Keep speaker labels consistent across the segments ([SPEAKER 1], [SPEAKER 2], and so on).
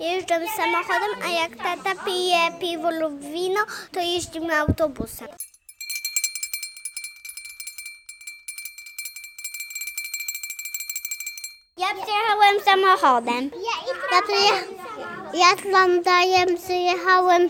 [SPEAKER 1] jeżdżam samochodem, a jak tata pije piwo lub wino, to jeździmy autobusem. Ja przyjechałem samochodem. Ja, ja Landajem przyjechałem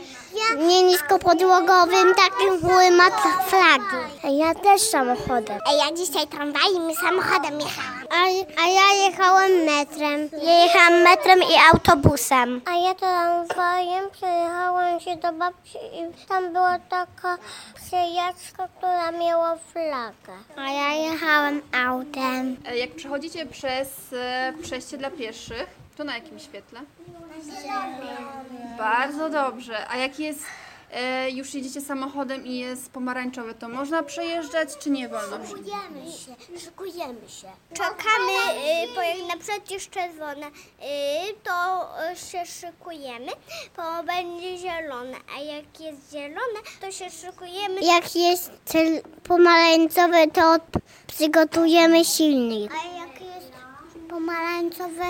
[SPEAKER 1] nie niskopodłogowym, takim, który ma flagi. Ja też samochodem.
[SPEAKER 2] A ja dzisiaj tramwajem i samochodem jechałam.
[SPEAKER 1] A, a ja jechałem metrem. Ja jechałam metrem i autobusem.
[SPEAKER 2] A ja tramwajem przejechałam się do babci i tam była taka przejażdżka, która miała flagę.
[SPEAKER 1] A ja jechałem autem.
[SPEAKER 3] E, Jak przechodzicie przez e, przejście dla pieszych, to na jakim świetle? Bardzo dobrze. A jak jest, e, już jedziecie samochodem i jest pomarańczowy, to można przejeżdżać czy nie wolno?
[SPEAKER 2] Szykujemy się, szykujemy się.
[SPEAKER 1] Czekamy, y, bo jak na przykład jest czerwone, y, to y, się szykujemy, bo będzie zielone. A jak jest zielone, to się szykujemy. Jak jest pomarańcowe, to przygotujemy silnik.
[SPEAKER 2] A jak jest...
[SPEAKER 1] Pomarańcowe,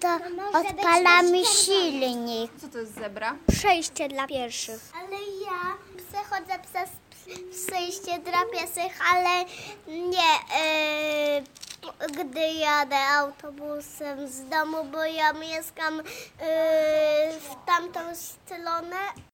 [SPEAKER 1] to
[SPEAKER 2] odpalamy
[SPEAKER 1] silnik.
[SPEAKER 3] Co to jest zebra?
[SPEAKER 1] Przejście dla pierwszych.
[SPEAKER 2] Ale ja przechodzę przez przejście dla piesych, ale nie e, gdy jadę autobusem z domu, bo ja mieszkam e, w tamtą stronę,